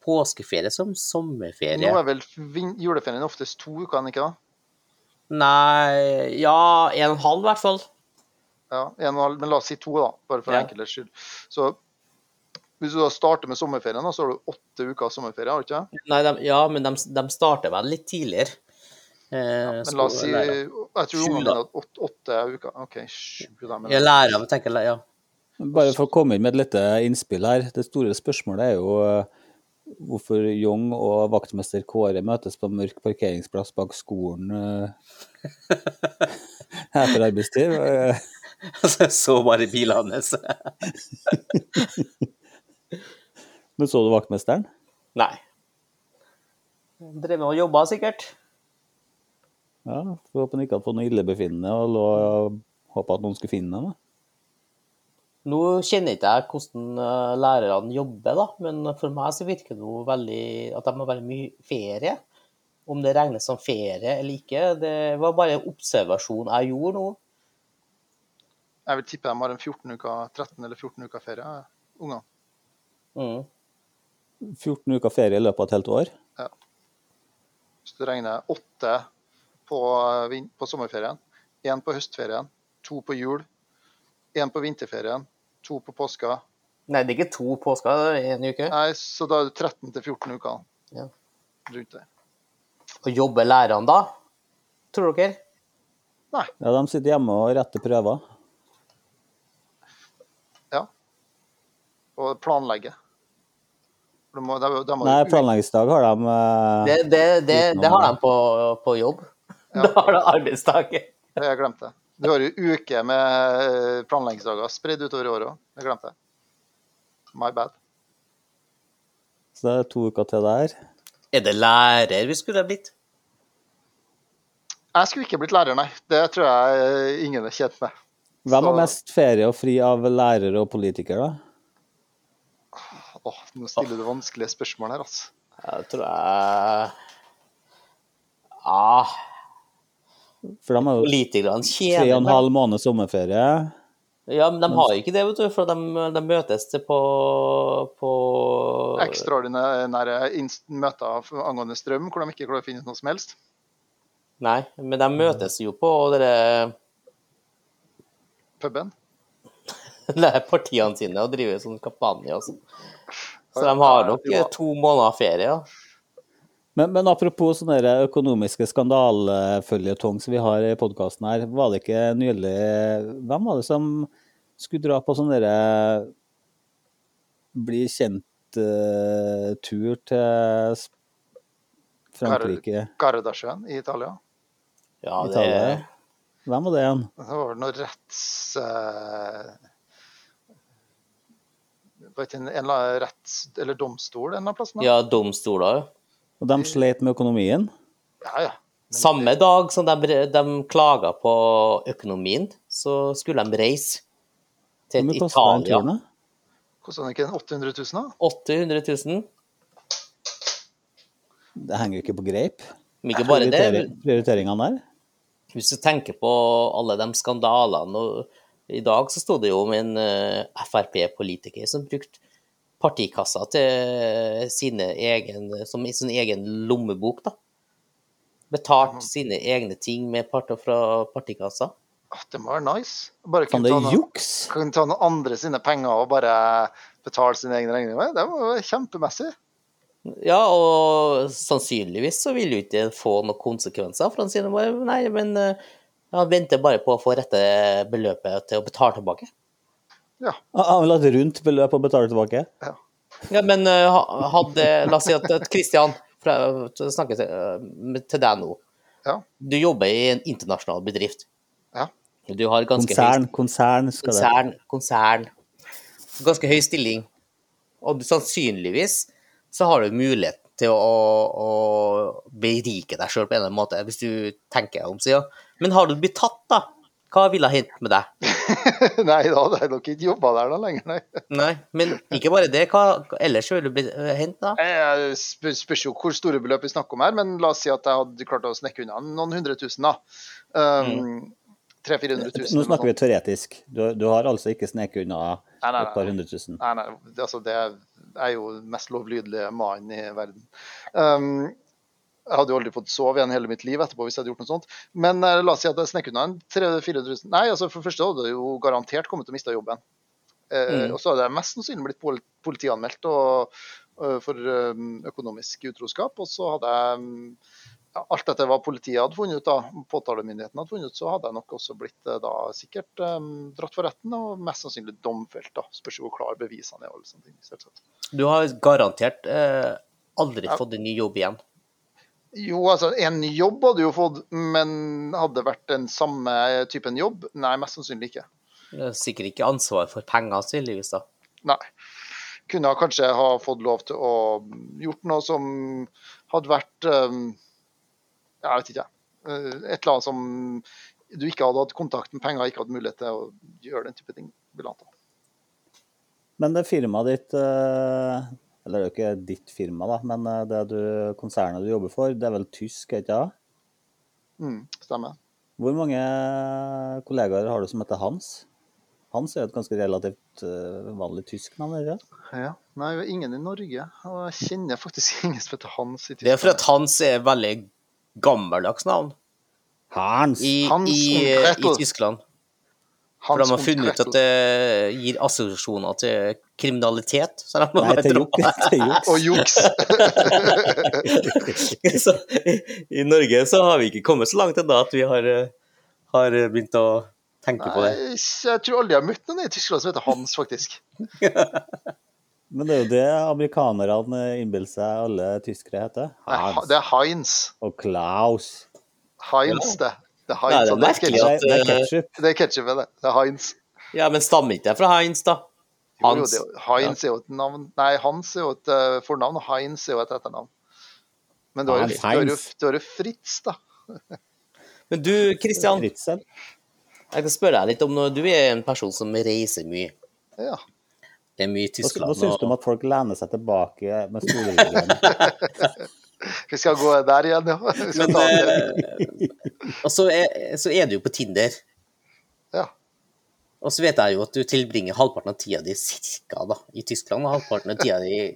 påskeferie som sommerferie.
Nå er vel vin- juleferien oftest to uker, ikke da?
Nei Ja, en og en halv, i hvert fall.
Ja, en og en halv, men la oss si to, da, bare for
Ja.
enkelhets skyld. Så hvis du da starter med sommerferien, da, så har du åtte uker sommerferie, har du ikke det?
Nei, de, ja, men de, de starter vel litt tidligere. Eh,
Men la oss si
skole-
Jeg tror
Sju,
ungene
da.
mine har åtte, åtte uker. OK, sju, da.
Ja,
Men
lærere tenker jeg, ja. [LAUGHS]
Bare for å komme inn med et lite innspill her. Det store spørsmålet er jo eh, hvorfor Young og vaktmester Kåre møtes på mørk parkeringsplass bak skolen eh, [LAUGHS] etter arbeidstid. Eh,
Så bare bilene hans.
Nå så du vaktmesteren.
Nei. Drev med og jobba, sikkert.
Ja, Får håpe han ikke hadde fått noe illebefinnende og lå og håpa at noen skulle finne ham. da.
Nå kjenner ikke jeg hvordan eh, lærerne jobber, da, men for meg så virker det jo veldig at de har veldig mye ferie. Om det regnes som ferie eller ikke, det var bare en observasjon jeg gjorde nå.
jeg vil tippe de har en 14 uker, 13 eller 14 uker ferie, ungene.
Mm.
14 uker ferie i løpet av et helt år.
Hvis du regner åtte på, vin- på sommerferien, én på høstferien, to på jul, én på vinterferien, to på påska.
Nei, det er ikke to påsker, det er én uke.
Nei, så da er det 13 til 14 uker
Ja.
rundt det.
Og jobber lærerne da? Tror dere?
Ja, De sitter hjemme og retter prøver.
Og planlegge. For De må, de, de må
Nei,
jo ut-
planleggingsdag har de. eh,
Det, det, det, det har de på, på jobb. [LAUGHS]
Ja.
Da har de arbeidsdager.
Det har jeg glemt det. Du har jo uker med eh, planleggingsdager spredd utover året òg. Jeg glemte det. My bad.
Så det er to uker til der.
Er det lærer vi skulle ha blitt?
Jeg skulle ikke blitt lærer, nei. Det tror jeg eh, ingen er tjent med.
Hvem har
Så-
mest ferie og fri av lærere og politikere, da?
Åh, nå stiller du vanskelige spørsmål her, altså.
Jeg tror jeg ah,
For de har jo
Politikerne
tre og
tjener
en halv måned sommerferie.
Ja, men de har jo ikke det, vet du, for de, de møtes til på, på
Ekstraordinære inst- møter for- angående strøm hvor de ikke klarer å finne ut noe som helst.
Nei, men de møtes jo på dere, [LAUGHS]
Puben.
dere partiene sine og driver sånn kampanje og sånn. Så de har nok eh,
Ja,
to måneder ferie. ja.
Men, men apropos sånne der økonomiske skandaleføljetong som vi har i podkasten her, var det ikke nylig Hvem var det som skulle dra på sånn derre bli kjent-tur til S- Frankrike,
Gardasjøen i Italia.
Ja, det,
Italia? Hvem var det igjen?
Det var vel noe retts... eh, det var ikke en, en eller annen retts... Eller domstol en eller annen plass? da?
ja domstoler.
Og de sleit med økonomien?
Ja, ja.
Samme dag som de, de klaga på økonomien, så skulle de reise
Hvor
til
mye kosta
Eh,
den
Italia.
turen, da?
Kostet den ikke en 800 000, da?
800 000.
Det henger jo ikke på greip.
Men ikke bare det. men-
Prioritering- Prioriteringene der?
Hvis du tenker på alle de skandalene og I dag så sto det jo om en eh, Frp-politiker som brukte partikassa til sine egen, som i sin egen lommebok. da. Betalt sine egne ting med part fra partikassa.
Åh, Det må være nice. Bare
Faen,
kunne
det
ta,
er
noen,
juks!
kunne ta noen andre sine penger og bare betale sine egne regninger. Det var jo kjempemessig.
Ja, og sannsynligvis så vil jo ikke det få noen konsekvenser, for han sier bare nei, men eh, han venter bare på å få rette beløpet til å betale tilbake.
Ah, Han vil ha et rundt beløp å betale tilbake.
Ja, men eh, ha- hadde La oss si at at Christian fra, snakker til, eh, med- til deg nå.
Ja.
Du jobber i en internasjonal bedrift.
Ja. [LAUGHS]
Du har ganske høy
Konsern, konsern skal det
konsern, konsern. Ganske høy stilling. Og du, sannsynligvis så har du mulighet til å, å berike deg sjøl på en eller annen måte, hvis du tenker deg om, sier jeg. Men har du blitt tatt, da? Hva ville jeg hente med deg?
nei, da hadde jeg nok ikke jobba der da lenger, nei.
Nei, men ikke bare det. Hva hva ellers ville du blitt øh, hentet da?
Jeg spør, spørs jo hvor store beløp vi snakker om her, men la oss si at jeg hadde klart å snekke unna noen hundre tusen, da. Um, 300 000-400 000.
Mm. Nå snakker vi
sånn.
teoretisk. Du, du har altså ikke sneket unna
Nei, nei,
et par
nei.
hundre tusen.
Nei, nei, det- altså det er jo den mest lovlydelige mannen i verden. Um, jeg hadde jo aldri fått sove igjen hele mitt liv etterpå hvis jeg hadde gjort noe sånt. Men eh, la oss si at jeg snekker unna en 300 000-400 000. Nei, altså for det første hadde jeg jo garantert kommet til å miste jobben. Eh, Og så hadde jeg mest sannsynlig blitt pol- politianmeldt og, eh, for eh, økonomisk utroskap. Og så hadde jeg mm, ja, Alt dette hva politiet hadde funnet ut, da, påtalemyndigheten hadde funnet ut, så hadde jeg nok også blitt eh, da sikkert eh, dratt for retten og mest sannsynlig domfelt. da, Spørs jo hvor klar bevisene er. og alle sånne ting, selvsagt.
Du har garantert øh, aldri fått en ny jobb igjen.
Jo, altså, en ny jobb hadde jo fått, men hadde det vært den samme typen jobb? Nei, mest sannsynlig ikke.
Du har Sikkert ikke ansvar for penger, tydeligvis, da.
Nei. Kunne ha kanskje ha fått lov til å gjort noe som hadde vært um, Jeg vet ikke, jeg. Eh, Et eller annet som du ikke hadde hatt kontakt med penger, ikke hatt mulighet til å gjøre den type ting. vil jeg anta.
Men det firmaet ditt eh, Eller det er jo ikke ditt firma, da, men eh, det du, konsernet du jobber for, det er vel tysk, er det ikke det?
Mm, stemmer.
Hvor mange kollegaer har du som heter Hans? Hans er jo et ganske relativt eh, vanlig tysk navn, er det ikke?
Ja. Nei, vi har ingen i Norge. Og jeg kjenner faktisk [LAUGHS] ingen som heter Hans i
Det er for
Tyskland.
at Hans er veldig gammeldags navn
Hans!
i,
Hans
i,
und
i
Gretel.
Tyskland. For
Hans
de har
und
funnet ut
Gretel.
at det gir assosiasjoner til kriminalitet. Så de må
[LAUGHS] Nei,
bare
til
[LAUGHS]
dra
juk- til juks.
Og [LAUGHS] juks.
det. [LAUGHS] så, I Norge så har vi ikke kommet så langt ennå at vi har, eh, har begynt å tenke på det.
Nei, jeg tror aldri jeg har møtt noen i Tyskland som heter Hans, faktisk.
Men det er jo det amerikanerne innbiller seg alle tyskere heter.
Nei, ha-
Hans
det er Heinz.
og Klaus.
Heinz, det. Det er
Nei,
Heinz,
det
og
er
det er
merkelig at
Nei,
ketchup.
det er
eh,
ketsjup.
Det er ketchup, det. Det er Heinz.
Ja, men stammer ikke det fra Heinz, da?
Jo, jo,
Hans.
det, er- Heinz er jo et navn Nei, Hans er jo et eh, fornavn, og Heinz er jo et etternavn. Men du har jo,
Hans
du har jo,
Heinz.
du har jo Fritz, da.
Men du, Kristian, jeg
Fritzel.
skal spørre deg litt om noe. Du er en person som reiser mye.
Ja.
Det er mye i
Hva, hva
Tyskland.
syns du om
og-
at folk lener seg tilbake med
[LAUGHS]
storryggen?
Vi skal gå der igjen, ja. Vi skal
Men,
ta det.
eh, og så er, så er du jo på Tinder.
Ja.
Og så vet jeg jo at du tilbringer halvparten av tida di cirka da, i Tyskland, og halvparten av tida di i,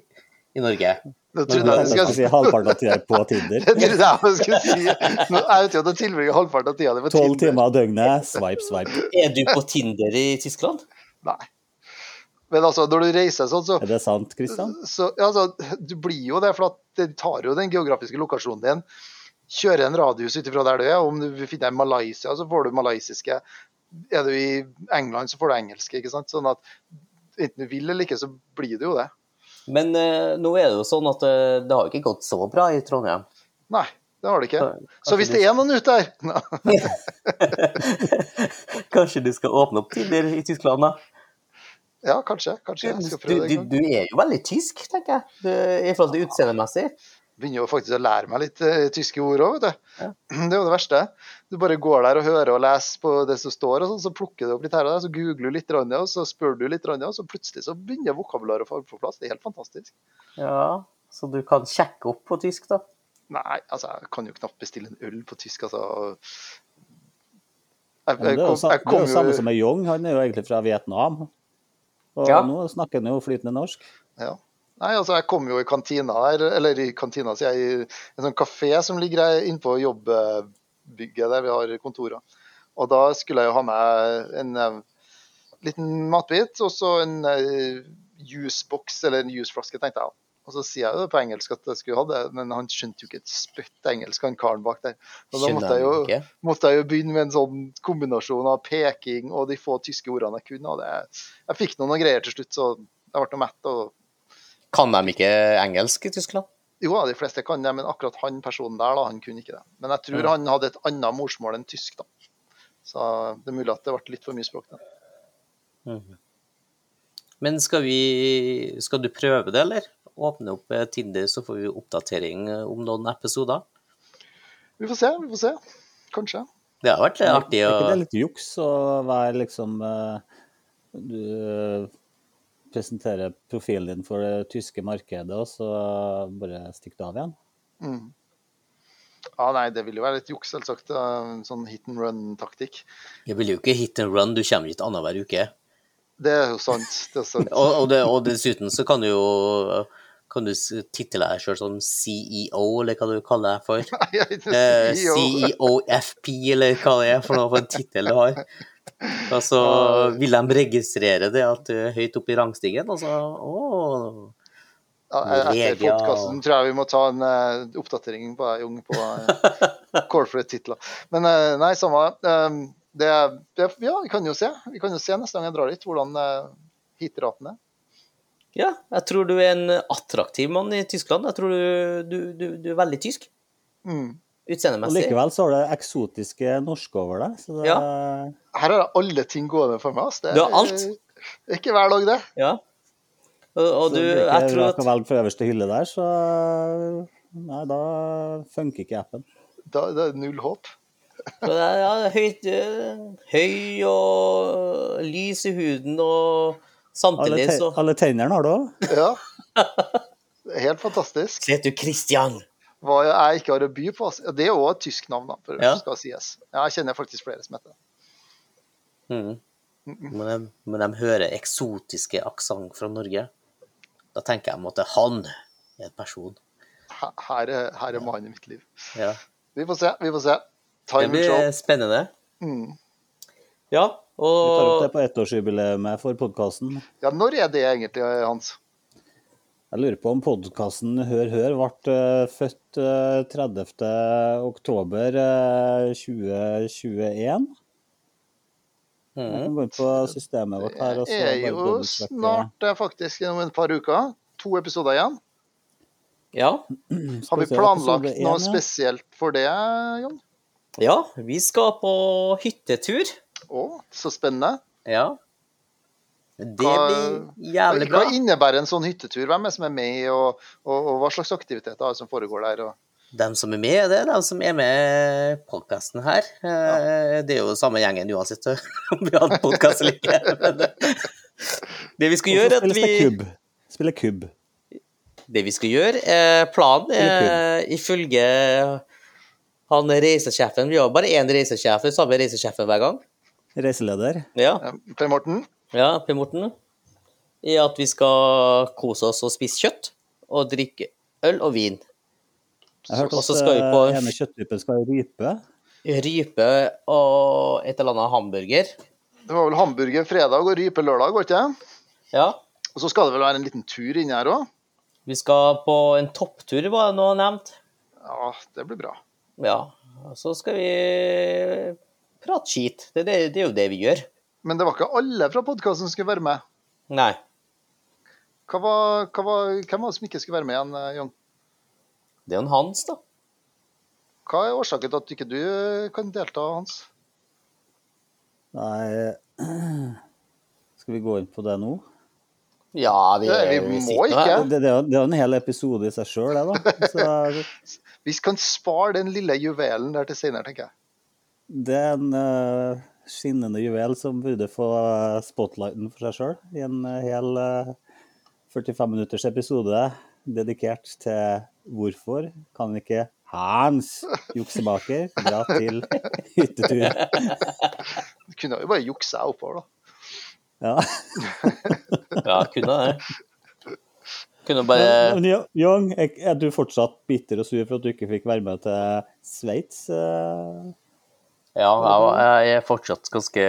i Norge.
Nå
Men
trodde jeg
jeg
du
skal
skulle
si halvparten av tida på Tinder.
[LAUGHS] Det trodde [LAUGHS] jeg jeg skulle si. Nå, jeg vet jo at du tilbringer halvparten av tida di på
Tolv
Tinder.
timer av døgnet, swipe, swipe.
Er du på Tinder i Tyskland?
Nei. Men altså, når du reiser sånn, så
Er det sant, Kristian?
så, ja, altså, du blir jo det, for at det tar jo den geografiske lokasjonen din. Kjører en radius ut ifra der du er. og Om du finner deg i Malaysia, så får du malaysiske. Er du i England, så får du engelske. ikke sant? Sånn at enten du vil eller ikke, så blir det jo det.
Men eh, nå er det jo sånn at eh, det har ikke gått så bra i Trondheim.
Nei, det har du ikke.
Kanskje
Så hvis det er noen ute der Nei,
Kanskje du skal åpne opp Tinder i Tyskland, da?
[LAUGHS] Ja, kanskje. Kanskje jeg skal
Du,
prøve det
du,
en gang.
du er jo veldig tysk, tenker jeg, du, i forhold til utseendemessig.
Begynner jo faktisk å lære meg litt eh, tyske ord òg, vet du. [CLEARS THROAT] Det er jo det verste. Du bare går der og hører og leser på det som står, og sånn, så plukker du opp litt her og der, så googler du litt, grann, og så spør du litt, grann, og så plutselig så begynner vokabularet å falle på plass. Det er helt fantastisk.
Ja, så du kan sjekke opp på tysk, da.
Nei, altså, jeg kan jo knapt bestille en øl på tysk, altså.
Ja,
Jeg,
men Det er
jeg,
jo,
kom,
sa- det
jeg
er
kom
jo
jo
samme som med Young, han er jo egentlig fra Vietnam. Og
Ja.
nå snakker han jo flytende norsk.
ja. Nei, altså, jeg kom jo i kantina her, eller i kantina, sier jeg, i en sånn kafé som ligger her innpå jobbbygget der vi har kontorer. Og da skulle jeg jo ha med en eh, liten matbit, og så en eh, juiceboks eller en juiceflaske, tenkte jeg. Og så sier jeg jo på engelsk at jeg skulle ha det, men han skjønte jo ikke et spytt engelsk, han karen bak der. Og da
Skjønner
måtte jeg,
han
jo,
ikke.
måtte jeg jo begynne med en sånn kombinasjon av peking og de få tyske ordene jeg kunne. Og det, jeg fikk noen greier til slutt, så jeg ble noe mett. Og,
Kan de ikke engelsk i Tyskland?
jo, ja, de fleste kan det, men akkurat han personen der, da, han kunne ikke det. Men jeg tror han hadde et annet morsmål enn tysk, da. Så det er mulig at det ble litt for mye språk. Da.
Men skal vi Skal du prøve det, eller? Åpne opp eh, Tinder, så får vi oppdatering eh, om noen episoder.
Vi får se, vi får se. Kanskje.
Det har vært eh,
Er
artig å
ikke det litt juks å være liksom eh, Du eh, presenterer profilen din for det tyske markedet, og så bare stikker du av igjen?
Mm. Ja, nei, det vil jo være litt juks, selvsagt. Det er en Sånn hit and run-taktikk.
Det blir jo ikke hit and run, du kommer hit annenhver uke.
Det er jo sant. Det er sant.
[LAUGHS]
[LAUGHS]
Og, og, det, og dessuten så kan du jo Kan du s- title deg sjøl som CEO, eller hva du kaller
[LAUGHS]
deg for.
Nei, jeg er ikke
Eh,
E
CEO.
CEOFP, eller hva det er for noe for en tittel du har. Og så vil de registrere det at du er høyt oppe i rangstigen, og så Å,
Ja, Etter
VG, ja.
podkasten tror jeg vi må ta en eh, oppdatering på deg, Jung, på
[LAUGHS]
eh, corporate-titler. Men eh, nei, samme eh, det. det ja, vi kan jo se. Vi kan jo se neste gang jeg drar dit, hvordan uh, hitraten er.
Ja, jeg tror du er en attraktiv mann i Tyskland. Jeg tror du, du, du, du er veldig tysk
Mm.
Og
utseendemessig.
likevel så har det eksotiske norske over deg. Så det,
Her er det alle ting gående for meg. ass. Det
Du har alt.
er ikke hver dag, det.
Ja. Og, og du,
så det blir
jeg
ikke
tror
vrak
at
å velge fra øverste hylle der, så Nei, da funker ikke appen.
Da, det er null håp.
Så det er, ja, høyt, øh, høy og lys i huden og
Alle,
samtidig
te
så
alle tennene har du òg.
Ja. Det er Helt fantastisk.
Så heter du Christian.
Hva jeg ikke har å by på. ass. Det er òg et tysk navn, da, for
Ja.
skal sies. Ja, jeg kjenner faktisk flere som heter det.
Mm. Men, de, men de hører eksotiske aksent fra Norge. Da tenker jeg at det er han er en person.
Her- Her, er- her er mannen i mitt liv.
Ja.
Vi får se, vi får se.
Det
Time will
blir
show.
spennende.
Mm.
Ja,
Vi tar opp det
og
på ettårsjubileet for podkasten.
Ja, når er det egentlig, Hans?
Jeg lurer på om podkasten Hør Hør ble eh, født eh, 30. oktober eh, 2021. Jeg kan gå inn på systemet vårt her og
Mm. Det
så
er
bare
jo
dobbeltsjekke.
snart det, faktisk om et par uker. To episoder igjen.
ja,
Har
Skal
vi
vi se, episode
planlagt noe
én, ja.
spesielt for det, Jon?
ja, vi skal på hyttetur.
Å, så spennende.
Ja. Det
Hva-
blir jævlig
Hva
bra.
innebærer en sånn hyttetur? Hvem er som er med, og, og, og hva slags aktiviteter er det som foregår der? Og...
Dem som er med, det er dem som er med i podkasten her. Eh, Det er jo samme gjengen uansett om vi har hatt podkast eller ikke. [LAUGHS] Men det, det vi skal
Og
gjøre, er
så
at
spilles det
vi
kubb. Spiller kubb.
Det vi skal gjøre, eh, planen er ifølge han reisesjefen Vi har bare én reisesjef, den samme reisesjefen hver gang.
Reiseleder.
Ja,
Ja, Per Morten?
ja Per Morten. I at vi skal kose oss og spise kjøtt og drikke øl og vin.
Jeg hørte
Og
at
så skal vi på-
eh, ene kjøtttypen skal rype.
Rype og et eller annet hamburger.
Det var vel hamburger fredag og rype lørdag, var det ikke? det?
Ja.
Og så skal det vel være en liten tur inni her òg?
Vi skal på en topptur, var det noe nevnt.
Ja, det blir bra.
Ja. Og så skal vi prate skit. Det, det, det er jo det vi gjør.
Men det var ikke alle fra podkasten som skulle være med.
Nei.
Hva var, hva var, hvem var det som ikke skulle være med igjen, eh, Jon?
Det er jo en Hans, da.
Hva er årsaken til at ikke du eh, kan delta, Hans?
Nei [CLEARS THROAT] Skal vi gå inn på det nå?
Ja, vi,
Ja, vi
vi
må
sitter nå her.
ikke.
Det, det, er jo- det er jo en hel episode i seg sjøl, det, da. Så
Vi kan spare den lille juvelen der til senere, tenker jeg.
det er en eh, skinnende juvel som burde få eh, spotlighten for seg sjøl i en eh, hel eh, 45 minutters episode dedikert til hvorfor kan ikke Hans juksebaker dra til hyttetur.
Du kunne jo bare juksa deg oppover, da.
[LAUGHS]
Ja.
Ja, kunne det. Kunne
Men,
bare
men Jo- Jong, er, er du fortsatt bitter og sur for at du ikke fikk være med til Sveits? eh?
Ja, jeg, jeg er fortsatt ganske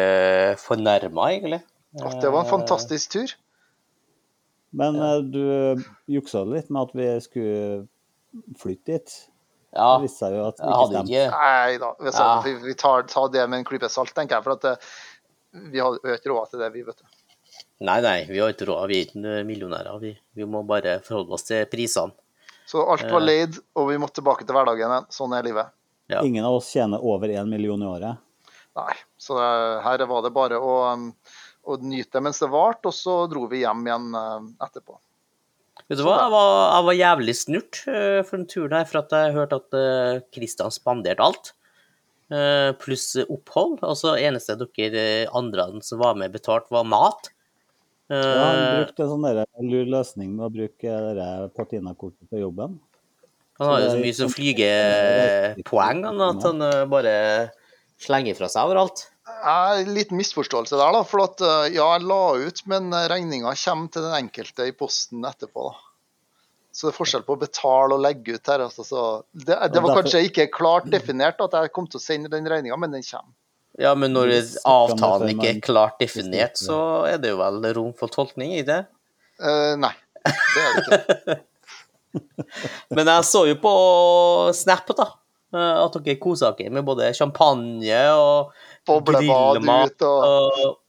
fornærma, egentlig.
At det var en fantastisk tur.
Men eh, du juksa litt med at vi skulle flytte dit.
Ja,
Det viste seg jo at det
jeg
ikke
hadde
stemte.
ikke
Nei da, vi, sa,
Ja.
vi, vi tar, tar det med en klype salt, tenker jeg. For at eh, vi har vi har ikke råd til det, vi, vet du.
Nei, nei, vi har ikke råd. Vi er ikke millionærer. Vi, vi må bare forholde oss til prisene.
Så alt var leid, og vi måtte tilbake til hverdagen igjen. Sånn er livet.
Ja. Eh,
Ingen av oss tjener over én million i året.
Nei, så det, her var det bare å, um, å nyte det mens det varte, og så dro vi hjem igjen um, etterpå.
Vet du hva, jeg var, jeg var jævlig snurt eh, for den turen her, for at jeg hørte at eh, Christian spanderte alt. eh, pluss opphold. Og så eneste dere eh, andre som var med betalt, var mat. Eh,
Ja, han brukte en sånn der lur løsning med å bruke det der Patina-kortet på jobben.
han har jo så
det
mye
gikk
som
sånn-
flygepoeng han, at han eh, bare slenger fra seg overalt.
Eh, En liten misforståelse der, da. For at, eh, ja, jeg la ut, men regninga kommer til den enkelte i posten etterpå. da. Så det er forskjell på å betale og legge ut her. Altså, så det, det var
derfor-
kanskje ikke klart definert at jeg kom til å sende den regninga, men den kommer.
Ja, men når
Vi snakket om det før,
avtalen ikke
men-
er klart definert, så er det jo vel rom for tolkning i det.
Eh, nei, det er det
[LAUGHS]
ikke.
Men jeg så jo på Snap da, Eh, at dere kosa dere med både champagne og
Boblebad
grillmat
ut og Mm.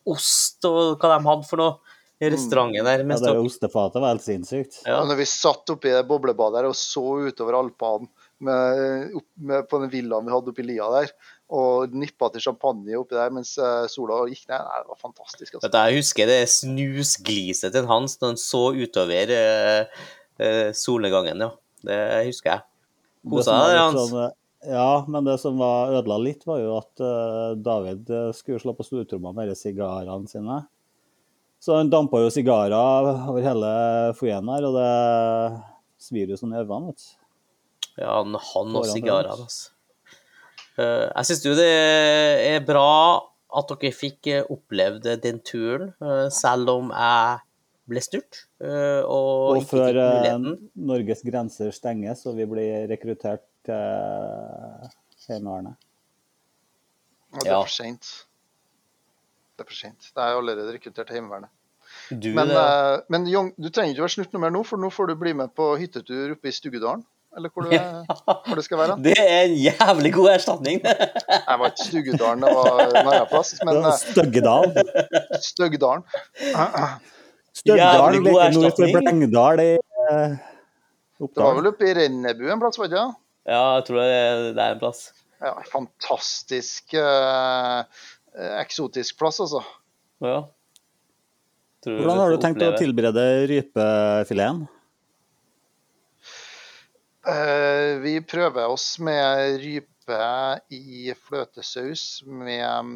og ost og hva de hadde for noe i restauranten der.
Ja,
Mens
det
dere,
ostefatet var helt sinnssykt.
ja.
Og når vi satt oppi det boblebadet der og så utover Alpene med, opp, med, på den villaen vi hadde oppi lia der, og nippa til champagne oppi der mens eh, sola gikk ned, nei, det var fantastisk. Altså.
Vet du, jeg husker det snusgliset til Hans da han så utover eh, eh, solnedgangen, ja. Det husker jeg.
Det
Kosa
som var
deg,
litt
Hans.
sånn, ja, men det som var ødela litt, var jo at eh, David eh, skulle slå på stortromma med de sigarene sine. Så han dampa jo sigarer over hele foajeen her, og det svir jo sånn i øynene. vet du.
Ja, han, han og
Tårene
sigarene,
rant.
altså. Eh, jeg syns jo det er bra at dere fikk eh, opplevd den turen, eh, selv om jeg ble snurt eh, og,
Og
ikke
før
fikk
eh,
muligheten.
Norges grenser stenges og vi blir rekruttert til Heimevernet.
Ja, det
Ja.
er for sent. Det er for sent. Det er allerede rekruttert til Heimevernet.
Du,
Men,
det,
eh, men Jong, du trenger ikke være snurt noe mer nå, for nå får du bli med på hyttetur oppe i Stugudalen. Eller hvor du, er, hvor du skal være.
det er en jævlig god erstatning. [LAUGHS]
Jeg var ikke Stugudalen, det var en annen plass. Men eh,
Støggedal.
[LAUGHS] Støggdalen.
[LAUGHS]
[CLEARS THROAT]
Støggdal
Jævlig god
leker nord for
erstatning.
Blengdal i eh,
Det var
Oppdal.
vel oppe i Rennebu en plass, var det ikke? det?
ja, jeg tror det er, det er en plass.
Ja, fantastisk eh, eksotisk plass, altså.
Ja. Tror
Hvordan har
får
du tenkt å
oppleve.
tilberede rypefileten?
Eh, vi prøver oss med rype i fløtesaus med mm,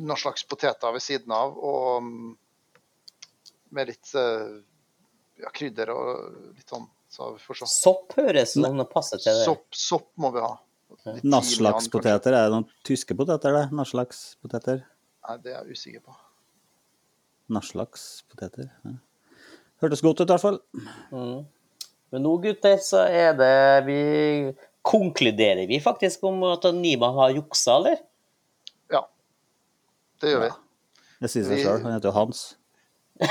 noen slags poteter ved siden av, og mm, med litt eh, ja, krydder og litt sånn. Så vi får se.
Altså, Sopp høres som det passer til det.
Sopp, sopp må vi ha. Litt timian, kanskje.
Naslakspoteter, er det noen tyske poteter, det? Naslakspoteter?
Nei, det er jeg usikker på.
Naslakspoteter. Ja. Hørtes godt ut, i hvert fall.
Mm. Men nå, gutter, så er det Vi konkluderer vi faktisk om at Niman har juksa, eller?
Ja, det gjør
Ja. Det sier seg
Vi-
sjøl. Han heter jo Hans.
vi.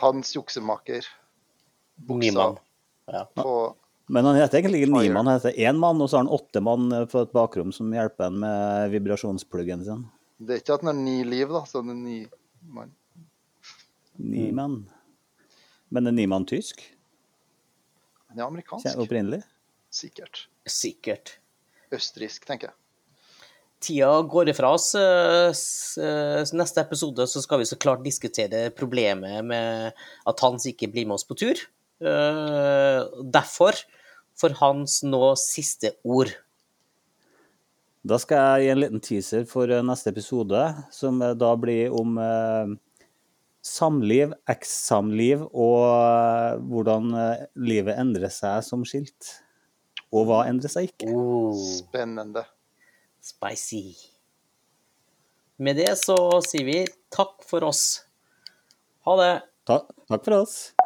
Hans juksemaker. Buksa
Niman. Ja.
på
Men han heter egentlig ikke
Fire.
ni mann, han heter én mann, og så har han åtte mann eh, på et bakrom som hjelper han med vibrasjonspluggen sin.
Det er ikke at den har ni liv, da. Så den er ni mann.
Ni mann.
Mm.
Men er ni mann tysk?
Den er
Kje-
amerikansk,
Opprinnelig?
sikkert.
Sikkert.
Østerriksk, tenker jeg.
Tida går ifra oss. eh, s- eh, så Neste episode så skal vi så klart diskutere problemet med at Hans ikke blir med oss på tur. Eh, Derfor får Hans nå siste ord.
Da skal jeg gi en liten teaser for eh, neste episode, som eh, da blir om eh, samliv, eks-samliv, og eh, hvordan eh, livet endrer seg som skilt. Og hva endrer seg ikke.
Oh,
Spennende.
spicy. Med det så sier vi takk for oss. Ha det.
Ta takk for oss.